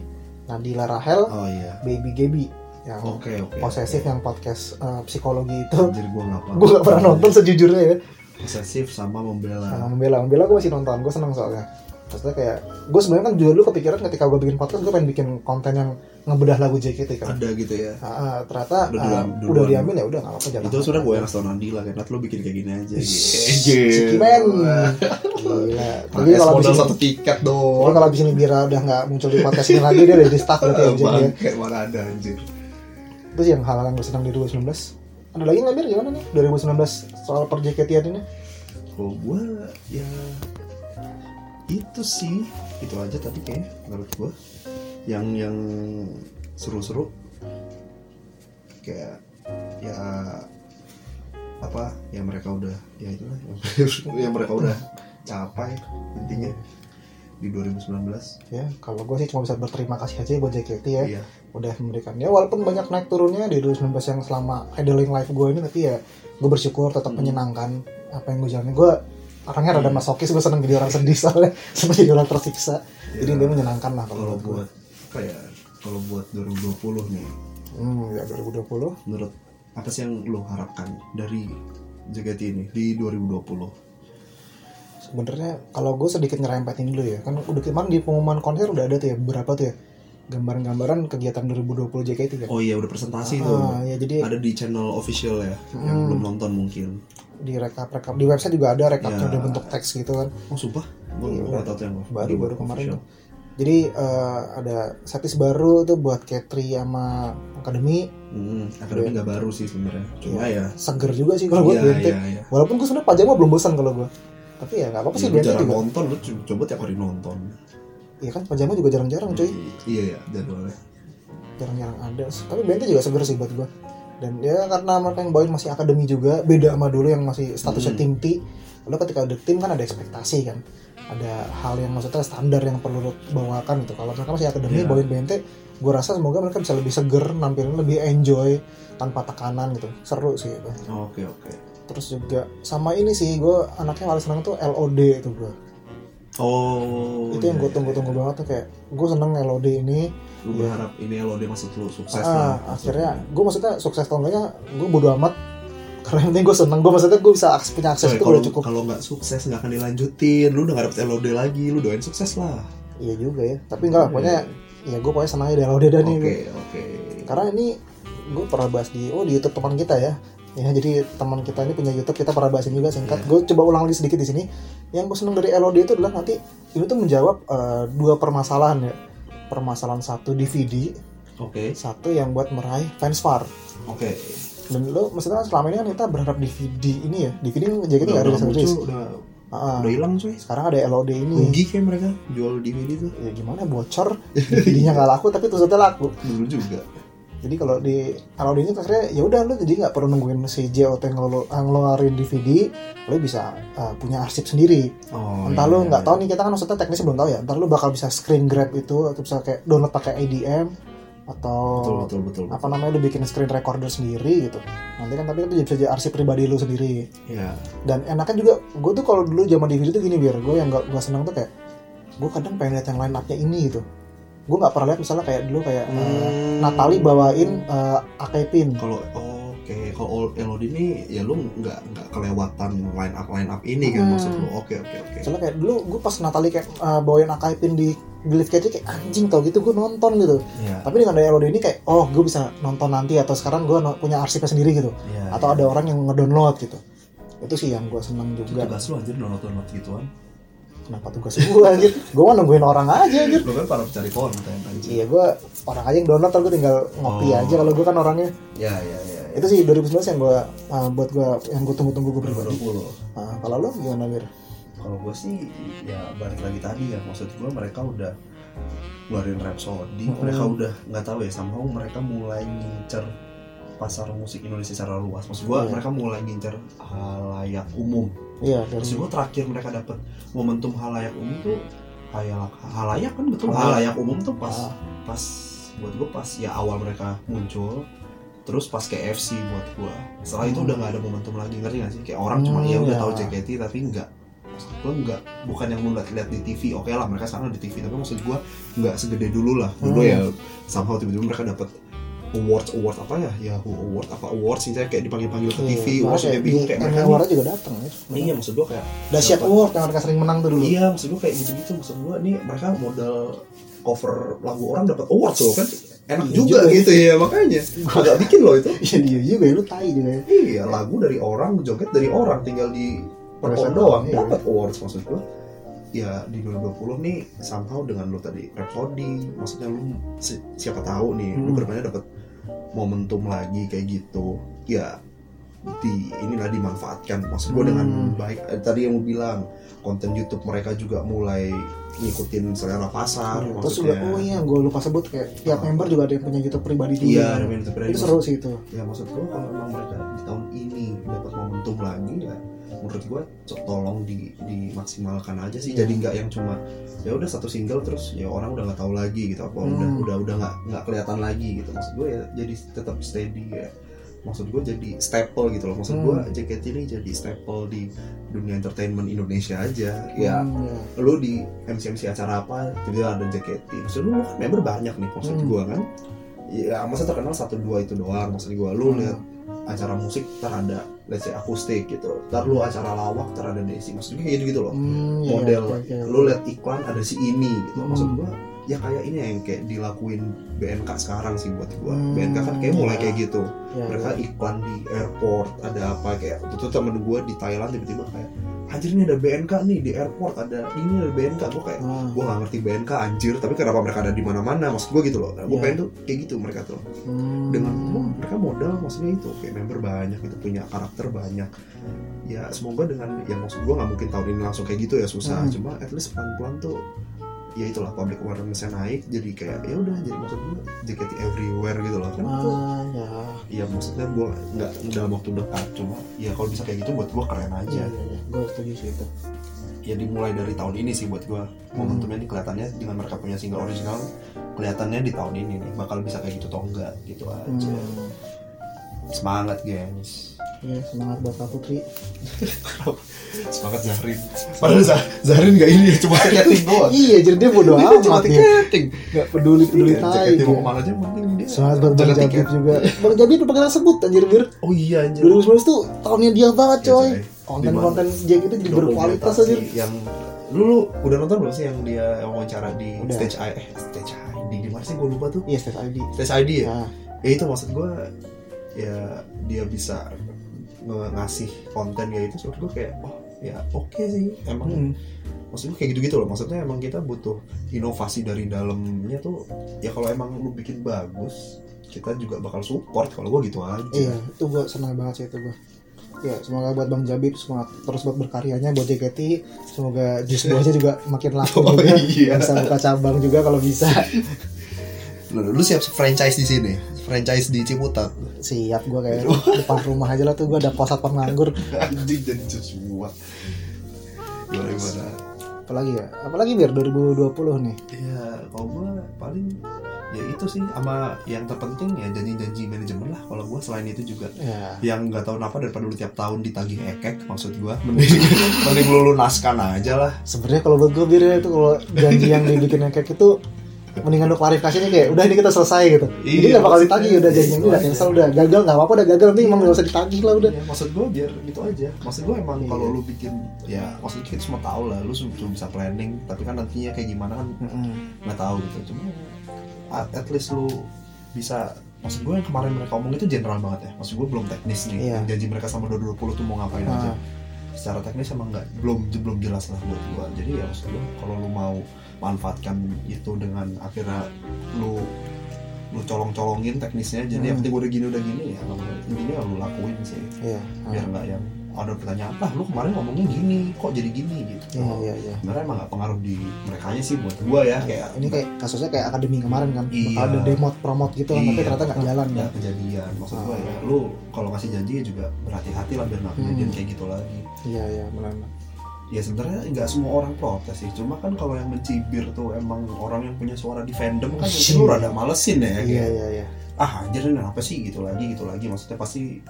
S1: Nadila Rahel
S2: oh iya
S1: Baby Gaby yang
S2: oke oke
S1: posesif yang podcast eh, psikologi itu
S2: jadi gue nggak pernah
S1: gue gak pernah nonton sejujurnya ya
S2: posesif sama
S1: Nah,
S2: membela
S1: membela membela gue masih nonton gue seneng soalnya maksudnya kayak gue sebenarnya kan juga dulu kepikiran ketika gue bikin podcast gue pengen bikin konten yang ngebedah lagu JKT kan
S2: ada gitu ya
S1: Ah, ah, ternyata ah,
S2: Udah duluan- duluan.
S1: udah diambil ya udah nggak apa-apa jangan
S2: itu sudah gue yang setahun Nandila kan lo bikin kayak gini aja Gitu.
S1: Ciki men Gila. Tapi
S2: Makanya
S1: kalau abis
S2: Iya. modal
S1: ini,
S2: satu tiket
S1: tapi
S2: doang
S1: kalau abis ini Bira udah nggak muncul di podcast ini lagi dia udah di staff berarti ya Jen, ya.
S2: Bangke, mana ada anjir
S1: Terus yang hal yang gue senang di 2019 ada lagi nggak Bir gimana nih 2019 soal per JKT ini?
S2: Kalau gue ya itu sih itu aja tadi kayaknya menurut gue yang yang seru-seru kayak ya apa yang mereka udah ya itulah yang, yang mereka udah capai intinya di 2019
S1: Ya kalau gue sih cuma bisa berterima kasih aja buat JKT ya
S2: iya
S1: udah memberikan ya walaupun banyak naik turunnya di 2019 yang selama idling life gue ini tapi ya gue bersyukur tetap
S2: Hmm.
S1: menyenangkan apa yang gue jalani gue orangnya rada masokis gue seneng jadi orang sedih soalnya seneng jadi orang tersiksa jadi
S2: Iya.
S1: dia menyenangkan lah kalau
S2: kalau
S1: menurut gue
S2: buat apa ya kalau buat 2020 nih
S1: hmm, ya 2020
S2: menurut apa sih yang lo harapkan dari JKT ini di 2020
S1: sebenarnya kalau gue sedikit nyerempetin dulu ya kan udah kemarin di pengumuman konser udah ada tuh ya berapa tuh ya gambaran-gambaran kegiatan 2020 JKT kan
S2: oh iya udah presentasi tuh
S1: Ah, ya jadi
S2: ada di channel official ya yang
S1: Hmm.
S2: belum nonton mungkin
S1: di rekap rekap di website juga ada rekapnya
S2: Ya.
S1: udah bentuk teks gitu kan
S2: oh sumpah gue
S1: Iya,
S2: nggak
S1: udah.
S2: tahu tuh yang gua-
S1: baru
S2: gua
S1: baru kemarin
S2: Iya, official.
S1: tuh. jadi eh, ada setis baru tuh buat Katri sama Akademi Iya.
S2: hmm, akademi nggak baru sih sebenarnya cuma ya
S1: seger juga sih kalau buat
S2: iya
S1: BNT
S2: iya iya
S1: walaupun gue sebenarnya pajama belum bosan kalau gue tapi ya nggak apa-apa sih BNT
S2: Lu Iya, jarang
S1: juga
S2: nonton lu co- coba tiap hari nonton
S1: iya kan pajama juga jarang-jarang cuy
S2: iya iya jadwalnya
S1: jarang-jarang ada tapi BNT juga seger sih buat gue dan ya karena mereka yang bawain masih akademi juga beda sama dulu yang masih statusnya
S2: Hmm.
S1: tim T lalu ketika udah tim kan ada ekspektasi kan ada hal yang maksudnya standar yang perlu lu bawakan gitu kalau mereka masih akademi
S2: Iya.
S1: bawain BNT gue rasa semoga mereka bisa lebih seger nampilin lebih enjoy tanpa tekanan gitu seru sih itu
S2: Oh, oke oke
S1: terus juga sama ini sih gue anaknya paling seneng tuh LOD itu gue
S2: oh
S1: itu yang
S2: iya,
S1: gue
S2: iya,
S1: tunggu-tunggu
S2: iya.
S1: banget tuh kayak gue seneng LOD ini
S2: lu berharap ini lo dia masuk lu sukses lah
S1: Ah, akhirnya gue maksudnya sukses atau enggaknya gue bodo amat karena yang penting gue seneng gue maksudnya gue bisa akses, punya akses
S2: Coy,
S1: itu
S2: kalau
S1: udah cukup
S2: kalau nggak sukses nggak akan dilanjutin lu udah nggak dapet LOD lagi lu doain sukses lah
S1: iya juga ya tapi enggak lah pokoknya ya gue pokoknya senang aja dari LOD dan
S2: iya. oke
S1: ini
S2: oke
S1: karena ini gue pernah bahas di oh di YouTube teman kita ya ya jadi teman kita ini punya YouTube kita pernah bahasin juga singkat
S2: Iya.
S1: gue coba ulang lagi sedikit di sini yang gue seneng dari LOD itu adalah nanti ini tuh menjawab eh, dua permasalahan ya permasalahan satu DVD
S2: oke
S1: satu yang buat meraih fans far
S2: oke
S1: dan lo maksudnya selama ini kan kita berharap DVD ini ya DVD kan jadi nggak
S2: udah
S1: rilis
S2: nggak
S1: rilis
S2: muncul, udah
S1: Ah,
S2: udah hilang cuy
S1: sekarang ada LOD ini
S2: rugi kayak mereka jual DVD tuh
S1: ya gimana bocor jadinya nggak laku tapi terusnya laku
S2: dulu juga
S1: jadi kalau di LOD ini akhirnya ya udah lo jadi nggak perlu nungguin si JOT ngelo- ngeluarin DVD lo bisa uh, punya arsip sendiri
S2: oh,
S1: entah lo nggak tahu nih kita kan maksudnya teknisnya belum tahu ya entar lo bakal bisa screen grab itu atau bisa kayak download pakai IDM atau
S2: betul betul betul
S1: apa namanya lo bikin screen recorder sendiri gitu nanti kan tapi itu bisa jadi arsip pribadi lo sendiri
S2: ya
S1: dan enaknya juga gue tuh kalau dulu zaman DVD tuh gini biar gue yang gak gue seneng tuh kayak gue kadang pengen lihat yang line up-nya ini gitu gue nggak pernah lihat misalnya kayak dulu kayak
S2: Hmm.
S1: eh, Natali bawain eh, Akai Pin
S2: kalau oh, oke kalau Old Elodie ini ya lu nggak nggak kelewatan line up line up ini kan
S1: Hmm.
S2: maksud lu oke oke oke
S1: misalnya kayak dulu gue pas Natali kayak eh, bawain Akai Pin di belief kayak kayak anjing tau gitu gue nonton gitu
S2: Iya.
S1: tapi dengan ada LOD ini kayak oh gue bisa nonton nanti atau sekarang gue no- punya arsipnya sendiri gitu
S2: Iya,
S1: atau ada orang yang ngedownload gitu itu sih yang gue seneng
S2: Itu
S1: juga
S2: tugas lu anjir download download gituan.
S1: kenapa tugas gue anjir gue mah nungguin orang aja gitu. anjir
S2: Lu kan para pencari konten anjir.
S1: iya gue orang aja yang download ntar gue tinggal ngopi
S2: Oh.
S1: aja kalau gue kan orangnya
S2: Iya, iya, iya.
S1: itu sih 2019 yang gue buat gue yang gue tunggu-tunggu gue pribadi
S2: 2020.
S1: Ah, kalau lu gimana Mir?
S2: Kalau gue sih ya balik lagi tadi ya maksud gue mereka udah ngeluarin Rhapsody,
S1: Hmm.
S2: mereka udah nggak tahu ya somehow mereka mulai ngincer pasar musik Indonesia secara luas. Maksud gue
S1: Iya.
S2: mereka mulai ngincer halayak umum.
S1: Iya dari
S2: Maksud gue terakhir mereka dapet momentum halayak umum tuh halayak halayak kan betul
S1: Halayak.
S2: halayak umum tuh pas
S1: Ah,
S2: pas buat gue pas ya awal mereka muncul terus pas KFC buat gue setelah itu
S1: Hmm.
S2: udah nggak ada momentum lagi ngerti nggak sih kayak orang cuma
S1: Hmm,
S2: ya udah
S1: ya.
S2: tahu JKT tapi nggak maksud gue nggak bukan yang lu lihat lihat di TV oke lah mereka sana di TV tapi maksud gue nggak segede dulu lah dulu
S1: Hmm.
S2: ya somehow tiba-tiba mereka dapat awards awards apa ya Yahoo award apa awards sih saya kayak dipanggil panggil ke
S1: iya.
S2: TV
S1: Bahkan
S2: awards
S1: kayak
S2: udah bingung
S1: di
S2: kayak
S1: Emmy
S2: mereka
S1: Award juga datang ya.
S2: nih iya maksud gue kayak
S1: Dasyat
S2: Dapat.
S1: Award yang mereka sering menang tuh dulu.
S2: Iya, maksud gue kayak gitu-gitu. Maksud gue nih mereka modal cover lagu orang dapat awards loh kan enak
S1: Iya
S2: juga,
S1: juga.
S2: gitu ya makanya agak bikin loh itu
S1: Iya dia juga ya lu tai juga ya.
S2: iya lagu dari orang joget dari orang tinggal di perpon
S1: Perpon,
S2: doang
S1: iya.
S2: dapat awards maksud gue ya di 2020 nih somehow dengan lo tadi Rhapsody maksudnya lu si- siapa tahu nih
S1: Hmm.
S2: lu kedepannya dapat momentum lagi kayak gitu ya di inilah dimanfaatkan maksud gue
S1: Hmm.
S2: dengan baik Eh, tadi yang lu bilang konten YouTube mereka juga mulai ngikutin selera pasar
S1: Terus juga
S2: maksudnya
S1: oh iya gue lupa sebut kayak tiap
S2: Ah.
S1: member juga ada yang punya YouTube pribadi
S2: iya
S1: dia.
S2: ada YouTube
S1: itu
S2: radio.
S1: seru sih itu.
S2: ya maksud gue kalau emang mereka di tahun ini dapat momentum lagi ya menurut gue co- tolong di dimaksimalkan aja sih
S1: Iya.
S2: jadi nggak yang cuma ya udah satu single terus ya orang udah nggak tahu lagi gitu apa
S1: Hmm.
S2: udah udah udah nggak nggak kelihatan lagi gitu maksud gue ya jadi tetap steady ya maksud gue jadi staple gitu loh maksud
S1: Hmm.
S2: gue JKT ini jadi staple di dunia entertainment Indonesia aja ya
S1: Hmm, iya.
S2: lu di MC MC acara apa tiba-tiba ada JKT maksud lu lu kan member banyak nih maksud
S1: Hmm.
S2: gua kan ya masa terkenal satu dua itu doang maksud gua lu
S1: Hmm.
S2: lihat acara musik ntar ada let's say akustik gitu ntar lu acara lawak ntar ada desi maksudnya kayak gitu gitu loh
S1: Hmm, iya,
S2: model
S1: iya, iya.
S2: lu lihat iklan ada si ini gitu
S1: Hmm.
S2: maksud gua ya kayak ini yang kayak dilakuin BNK sekarang sih buat gua
S1: Hmm,
S2: BNK kan kayak mulai
S1: iya.
S2: kayak gitu
S1: Iya,
S2: mereka
S1: iya.
S2: iklan di airport ada apa kayak waktu itu temen gue di Thailand tiba-tiba kayak anjir ini ada BNK nih di airport ada ini ada BNK gue kayak
S1: Ah,
S2: gue gak ngerti BNK anjir tapi kenapa mereka ada di mana-mana maksud gue gitu loh gue
S1: Iya.
S2: pengen tuh kayak gitu mereka tuh
S1: hmm.
S2: dengan oh, mereka modal maksudnya itu kayak member banyak itu punya karakter banyak ya semoga dengan yang maksud gue nggak mungkin tahun ini langsung kayak gitu ya susah
S1: Hmm.
S2: cuma at least pelan-pelan tuh ya itulah public awarenessnya naik jadi kayak ya udah jadi maksud gue JKT everywhere gitu loh kan tuh
S1: Ah, ya.
S2: ya maksudnya gue nggak dalam waktu dekat cuma ya kalau bisa kayak gitu buat gue keren aja
S1: Iya, iya, iya. Gue setuju sih itu.
S2: ya dimulai dari tahun ini sih buat gue momentumnya ini kelihatannya dengan mereka punya single original kelihatannya di tahun ini nih bakal bisa kayak gitu atau enggak gitu aja
S1: Hmm.
S2: semangat gengs
S1: Iya, semangat buat Kak Putri.
S2: semangat Zahrin padahal Zah- Zahrin nggak ini ya cuma keting doang
S1: Iya, jadi dia bodo
S2: Dia cuma
S1: amat ya.
S2: tiketing
S1: Gak peduli peduli
S2: Iya,
S1: tai.
S2: JKT mau
S1: dia.
S2: kemana aja yang penting dia
S1: Semangat buat Bang
S2: jaga
S1: Jabir
S2: tiket.
S1: juga. Bang Jabir udah pernah sebut anjir bir.
S2: oh iya anjir
S1: 2019 tuh tahunnya dia banget
S2: Iya,
S1: coy.
S2: coy.
S1: Konten-konten dia gitu jadi berkualitas
S2: Dokumentasi
S1: anjir.
S2: yang lu, lu udah nonton belum sih yang dia wawancara di
S1: Udah.
S2: stage I eh stage ID di mana sih gue lupa tuh
S1: Iya, Steve ID.
S2: stage ID ya
S1: Ya.
S2: ya itu maksud gue ya dia bisa nge- ngasih konten ya itu maksud gue kayak oh ya oke sih emang
S1: Hmm.
S2: maksud gue kayak gitu gitu loh maksudnya emang kita butuh inovasi dari dalamnya tuh ya kalau emang lu bikin bagus kita juga bakal support kalau gue gitu aja
S1: Iya, itu gua senang banget sih itu gua. Ya, semoga buat Bang Jabir semangat terus buat berkaryanya buat JKT. Semoga jus buahnya juga makin laku
S2: Oh,
S1: juga.
S2: iya.
S1: Bisa buka cabang juga kalau bisa.
S2: lu, lu siap franchise di sini franchise di Ciputat
S1: Siap gua kayak depan rumah aja lah tuh gua ada pos satpam nganggur.
S2: anjing jadi semua gimana gimana
S1: Apalagi ya? Apalagi biar 2020 nih.
S2: ya kalau gue paling ya itu sih sama yang terpenting ya janji-janji manajemen lah kalau gue selain itu juga
S1: Ya.
S2: yang nggak tahu kenapa daripada lu tiap tahun ditagih ekek maksud gue mending mending lu lunaskan aja lah
S1: sebenarnya kalau buat gue bir ya, itu kalau janji yang dibikin yang kayak gitu mendingan lu klarifikasi nih kayak udah ini kita selesai gitu jadi
S3: Iya,
S1: nggak bakal
S3: maksudnya,
S1: ditagih udah
S3: iya,
S1: janjian udah
S3: iya.
S1: cancel udah gagal nggak apa-apa udah gagal nanti emang nggak usah ditagih lah Iya, udah
S2: Ya, maksud gue biar gitu aja maksud gue emang
S1: Iya.
S2: kalau lu bikin ya maksud kita semua tahu lah lu cuma bisa planning tapi kan nantinya kayak gimana kan nggak tahu gitu cuma at, at least lu bisa maksud gue yang kemarin mereka omong itu general banget ya maksud gue belum teknis nih
S1: Iya.
S2: Yang janji mereka sama 2020 tuh mau ngapain
S1: Ah.
S2: aja secara teknis emang nggak belum belum jelas lah buat gue jadi ya maksud gue kalau lu mau manfaatkan itu dengan akhirnya lu lu colong-colongin teknisnya jadi
S1: Hmm.
S2: yang penting udah gini udah gini ya intinya lu lakuin sih
S1: iya
S2: biar nggak yang ada pertanyaan lah lu kemarin ngomongnya gini kok jadi gini gitu
S1: iya iya iya
S2: sebenarnya emang nggak pengaruh di mereka sih buat gua ya kayak
S1: ini kayak kasusnya kayak akademi kemarin kan
S2: Iya.
S1: bakal ada demot promote gitu kan tapi
S2: Iya.
S1: ternyata nggak jalan ya Ah.
S2: nggak kejadian maksud gua ya lu kalau ngasih janji ya juga berhati-hati lah biar nggak kejadian
S1: Hmm.
S2: kayak gitu lagi
S1: iya iya benar
S2: ya sebenarnya nggak semua orang protes sih cuma kan kalau yang mencibir tuh emang orang yang punya suara di fandom kan mungkin lu rada malesin
S1: iya
S2: ya kayak,
S1: iya iya
S2: ah anjir ini apa sih gitu lagi gitu lagi maksudnya pasti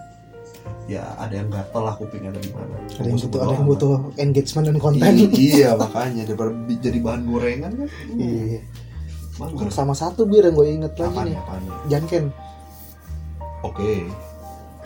S2: ya ada yang gatel lah kupingnya dari mana
S1: ada yang butuh ada yang
S2: Gua
S1: butuh engagement dan konten
S2: Iya, iya makanya daripada bi- jadi bahan gorengan kan
S1: iya
S2: mager
S1: sama satu bir yang gue inget lagi
S2: apaan ya,
S1: nih
S2: apaan
S1: Janken
S2: oke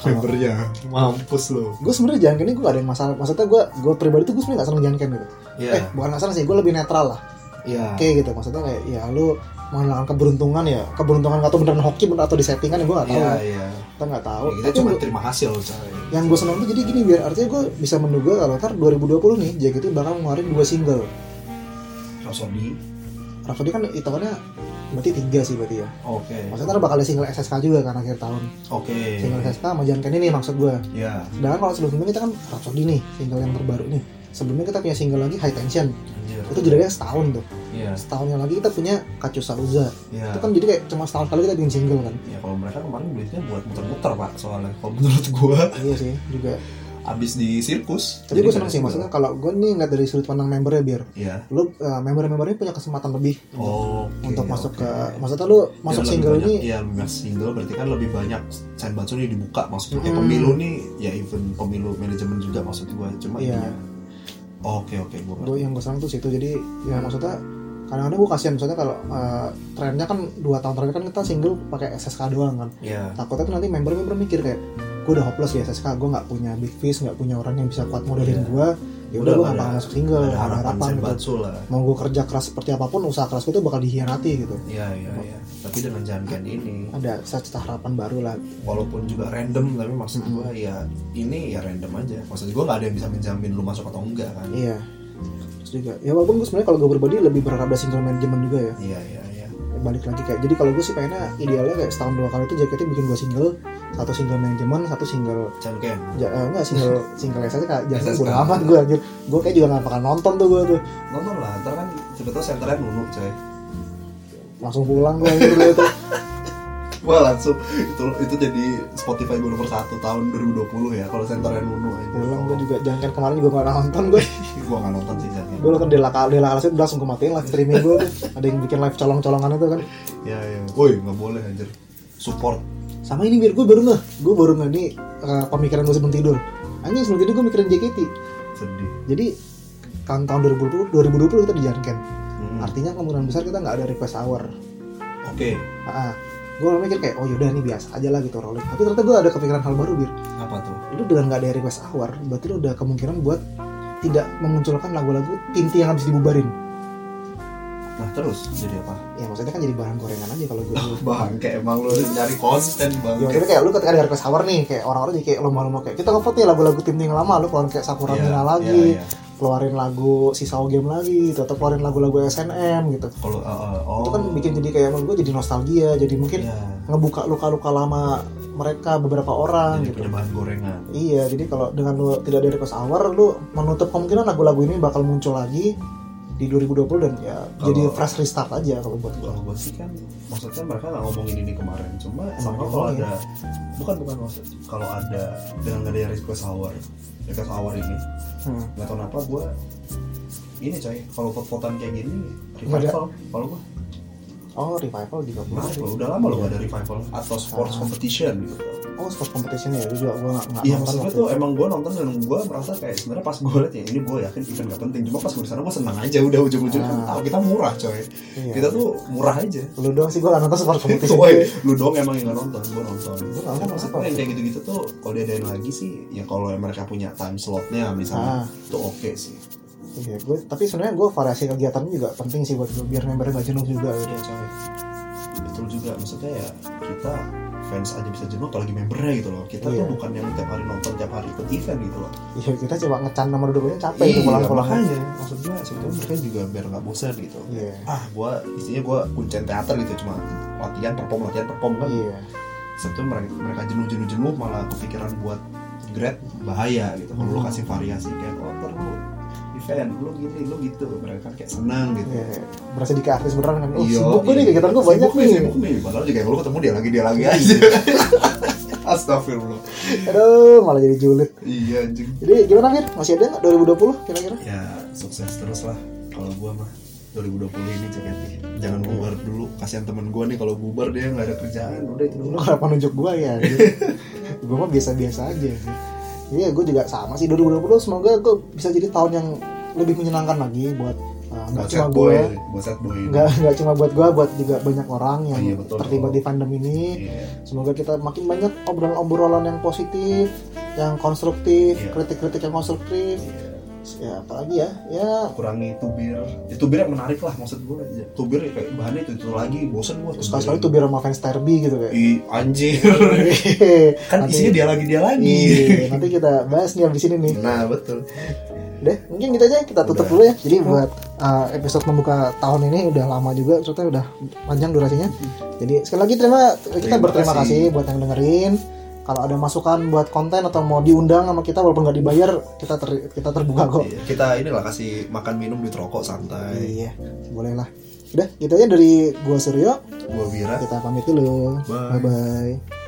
S3: membernya
S2: mampus lo
S1: gue sebenarnya Janken ini gue gak ada yang masalah maksudnya gue gue pribadi tuh gue sebenarnya gak seneng Janken gitu
S2: Iya.
S1: eh bukan gak seneng sih gue lebih netral lah
S2: iya
S1: oke gitu maksudnya kayak ya lu mengenalkan keberuntungan ya keberuntungan atau beneran hoki bener atau di settingan gue gak tahu
S2: iya
S1: ya.
S2: iya
S1: kita nggak tahu
S2: Ya, kita
S1: Tapi
S2: cuma
S1: gua-
S2: terima hasil coy
S1: yang gue seneng tuh jadi gini biar artinya gue bisa menduga kalau ntar 2020 nih JKT bakal ngeluarin dua single
S2: Rosodi
S1: Rhapsody kan hitungannya berarti tiga sih berarti ya
S2: oke
S1: maksudnya ntar bakal ada single SSK juga kan akhir tahun
S2: oke
S1: single SSK sama Janken ini maksud gue
S2: ya
S1: sedangkan kalau sebelumnya kita kan Rhapsody nih single yang terbaru nih sebelumnya kita punya single lagi High Tension
S2: anjir
S1: itu jadinya setahun tuh
S2: iya
S1: setahunnya lagi kita punya Kacusa Uza
S2: iya
S1: itu kan jadi kayak cuma setahun kali kita bikin single kan
S2: ya kalau mereka kemarin belinya buat muter-muter pak soalnya kalau menurut gua
S1: iya sih juga
S2: abis di sirkus
S1: tapi
S2: Jadi
S1: gue seneng
S2: beres
S1: sih
S2: gua.
S1: maksudnya kalau gue nih nggak dari sudut pandang membernya biar
S2: iya
S1: lu uh, member-membernya punya kesempatan lebih
S2: oh
S1: untuk masuk ke maksudnya lu masuk single ini
S2: Iya, masuk single berarti kan lebih banyak Senbatsu ini dibuka maksudnya kayak
S1: Hmm.
S2: pemilu nih ya even pemilu manajemen juga maksud gua cuma
S1: Iya.
S2: intinya- Oke oke gua ngerti.
S1: gue yang gue senang tuh situ jadi ya maksudnya kadang-kadang gue kasihan misalnya kalau uh, trennya kan dua tahun terakhir kan kita single pakai SSK doang kan
S2: Iya.
S1: takutnya tuh nanti member-member mikir kayak gue udah hopeless di SSK gue nggak punya big fish nggak punya orang yang bisa kuat modalin
S2: Iya.
S1: gue ya udah gue
S2: Udah nggak
S1: nggak bakal
S2: ada-
S1: masuk single
S2: Ada
S1: nggak ada
S2: harapan
S1: harapan gitu
S2: Senbatsu lah.
S1: mau gue kerja keras seperti apapun usaha keras gue tuh bakal dikhianati gitu
S2: Iya iya iya. Tapi dengan jangan ini
S1: ada cita harapan baru lah
S2: walaupun juga random tapi
S1: Hmm.
S2: maksud gua ya ini ya random aja maksud gua nggak ada yang bisa menjamin lu masuk atau enggak kan
S1: iya terus juga ya walaupun gue sebenarnya kalau gue berbadi lebih berharap ada single management juga ya
S2: iya iya iya
S1: balik lagi kayak jadi kalau gue sih pengennya idealnya kayak setahun dua kali itu JKT bikin dua single satu single manajemen satu single
S2: jangan
S1: ja, eh, enggak single single SSK kayak jangan
S2: SSK.
S1: bodo amat gue anjir gue kayak juga gak bakal nonton tuh gue tuh
S2: nonton lah ntar kan sebetulnya senternya nunu coy
S1: langsung pulang gue anjir gue tuh
S2: wah langsung itu itu jadi Spotify gue nomor satu tahun 2020 ya kalau senternya nunu aja
S1: pulang gue juga jangan kan kemarin juga gak nonton gue
S2: gua nggak nonton sih jangan
S1: gue nonton Dela Kala Dela Kala sih udah langsung gue matiin live streaming gue tuh ada yang bikin live colong-colongan itu kan
S2: ya ya woi nggak boleh anjir support
S1: sama ini biar gue baru nggak gue baru nggak nih eh, pemikiran gue sebelum tidur anjing sebelum tidur gue mikirin JKT
S2: sedih
S1: jadi kan tahun tahun 2020 2020 kita di Janken
S2: Hmm.
S1: artinya kemungkinan besar kita nggak ada request hour
S2: oke
S1: ah gue mikir kayak oh yaudah nih biasa aja lah gitu rolling tapi ternyata gue ada kepikiran hal baru bir
S2: apa tuh
S1: lu dengan nggak ada request hour berarti lu udah kemungkinan buat tidak memunculkan lagu-lagu inti yang habis dibubarin
S2: nah terus jadi apa
S1: ya maksudnya kan jadi bahan gorengan aja kalau gue
S2: bang kayak emang lu nyari konten bang
S1: Ya, maksudnya kayak lu ketika ada request hour nih, kayak orang-orang jadi kayak lomba-lomba kayak kita ngevote nih lagu-lagu tim yang lama, lu keluarin kayak Sakura
S2: Iya,
S1: Mina
S2: iya,
S1: lagi,
S2: iya.
S1: keluarin lagu Sisao Game lagi, gitu, atau keluarin lagu-lagu SNM gitu.
S2: kalau uh, uh, oh
S1: Itu kan Gitu. bikin jadi kayak menurut gue jadi nostalgia, jadi mungkin
S2: Iya.
S1: ngebuka luka-luka lama mereka beberapa orang
S2: jadi
S1: gitu.
S2: perubahan gorengan
S1: Iya, jadi kalau dengan lu tidak ada request hour, lu menutup kemungkinan lagu-lagu ini bakal muncul lagi di 2020 dan ya
S2: Kalau-
S1: jadi fresh restart aja kalau buat gua.
S2: kalau gue sih kan maksudnya mereka nggak ngomongin ini kemarin cuma
S1: Emang
S2: sama
S1: nggak
S2: kalau
S1: ngomongin.
S2: ada bukan bukan maksud kalau ada dengan nggak ada request hour request hour ini
S1: Hmm.
S2: nggak tahu kenapa gue ini coy kalau foto-fotoan kayak gini
S1: Nggak ada.
S2: revival kalau gue
S1: oh revival juga belum
S2: Maaf loh, udah lama loh gak ada revival atau
S1: Ah.
S2: sports competition gitu.
S1: oh sports competition ya itu juga gue nggak nggak
S2: Iya
S1: nonton
S2: maksudnya
S1: waktu
S2: tuh
S1: itu.
S2: emang gue nonton dan gue merasa kayak sebenarnya pas gue liat ya ini gue yakin event gak penting cuma pas gue sana gue senang aja udah ujung-ujungnya kan
S1: Ah.
S2: tahu kita murah coy
S1: Iya.
S2: kita tuh murah aja
S1: lu doang sih gue nggak nonton sports competition
S2: Woi, lu dong emang yang gak nonton, gue nonton.
S1: Gua nggak nonton,
S2: Maksud
S1: apa?
S2: gua yang kayak gitu-gitu tuh kalau diadain lagi sih, ya kalau mereka punya time slotnya
S1: Ah.
S2: misalnya, itu oke sih.
S1: Iya, gue tapi sebenarnya gue variasi kegiatan juga penting sih buat gue biar member gak jenuh juga gitu.
S2: coy. Betul juga, maksudnya ya kita fans aja bisa jenuh apalagi membernya gitu loh. Kita
S1: Iya.
S2: tuh bukan yang tiap hari nonton, tiap hari ikut event gitu loh.
S1: Iya, kita coba ngecan nomor dua capek itu pulang-pulang.
S2: Iya, makanya. Maksud gue sebetulnya mereka juga biar gak bosan gitu.
S1: Iya.
S2: Ah, gue istilahnya gue kuncen teater gitu cuma latihan perform latihan perform kan
S1: Iya.
S2: sebetulnya mereka, mereka jenuh jenuh jenuh malah kepikiran buat grad bahaya gitu kalau lu
S1: Hmm.
S2: kasih variasi kayak oh ntar lu event lu gini lu gitu mereka kan kayak senang gitu
S1: Iya. Berasa di kayak artis beneran kan. Oh,
S2: Iya,
S1: sibuk gue nih
S2: iya.
S1: kegiatan gue banyak
S2: Sibuk
S1: nih. Hmm.
S2: sibuk nih padahal juga lu ketemu dia lagi dia lagi aja astagfirullah
S1: Aduh, malah jadi julid.
S2: iya anjing
S1: Jadi gimana Fir? Masih ada nggak 2020 kira-kira?
S2: ya sukses terus lah kalau gua mah 2020 ini JKT jangan bubar dulu kasihan temen gua nih kalau bubar dia nggak ada kerjaan udah itu
S1: Lu
S2: dulu
S1: kenapa nunjuk gue ya? gue mah biasa-biasa aja. sih. Iya, gue juga sama sih 2020 semoga gue bisa jadi tahun yang lebih menyenangkan lagi buat uh, nggak
S2: buat
S1: cuma
S2: sad boy
S1: gue
S2: buat sad boy
S1: nggak nggak cuma buat gue buat juga banyak orang yang
S2: Iya, betul.
S1: terlibat di fandom ini
S2: Iya.
S1: semoga kita makin banyak obrolan-obrolan yang positif yang konstruktif
S2: Iya.
S1: kritik-kritik yang konstruktif
S2: Iya.
S1: ya apalagi ya ya
S2: kurangi tubir ya, tubir yang menarik lah maksud gue Ya, tubir ya kayak bahannya itu itu lagi bosen gue
S1: sekali-sekali tuh biar sama fans Derby gitu kayak
S2: i anjir Iya. kan
S1: Nanti-
S2: isinya dia lagi dia lagi
S1: Iya, nanti kita bahas nih abis ini nih
S2: nah betul
S1: deh mungkin gitu aja kita tutup
S2: Udah.
S1: dulu ya jadi buat uh, episode membuka tahun ini udah lama juga maksudnya udah panjang durasinya jadi sekali lagi terima kita
S2: Hmm. Terima
S1: berterima kasih.
S2: kasih.
S1: buat yang dengerin kalau ada masukan buat konten atau mau diundang sama kita walaupun nggak dibayar kita ter- kita terbuka kok
S2: Iya, kita inilah kasih makan minum duit rokok santai
S1: iya boleh lah udah gitu aja dari gua Suryo
S2: gue Wira
S1: kita pamit dulu bye,
S2: Bye.
S1: -bye.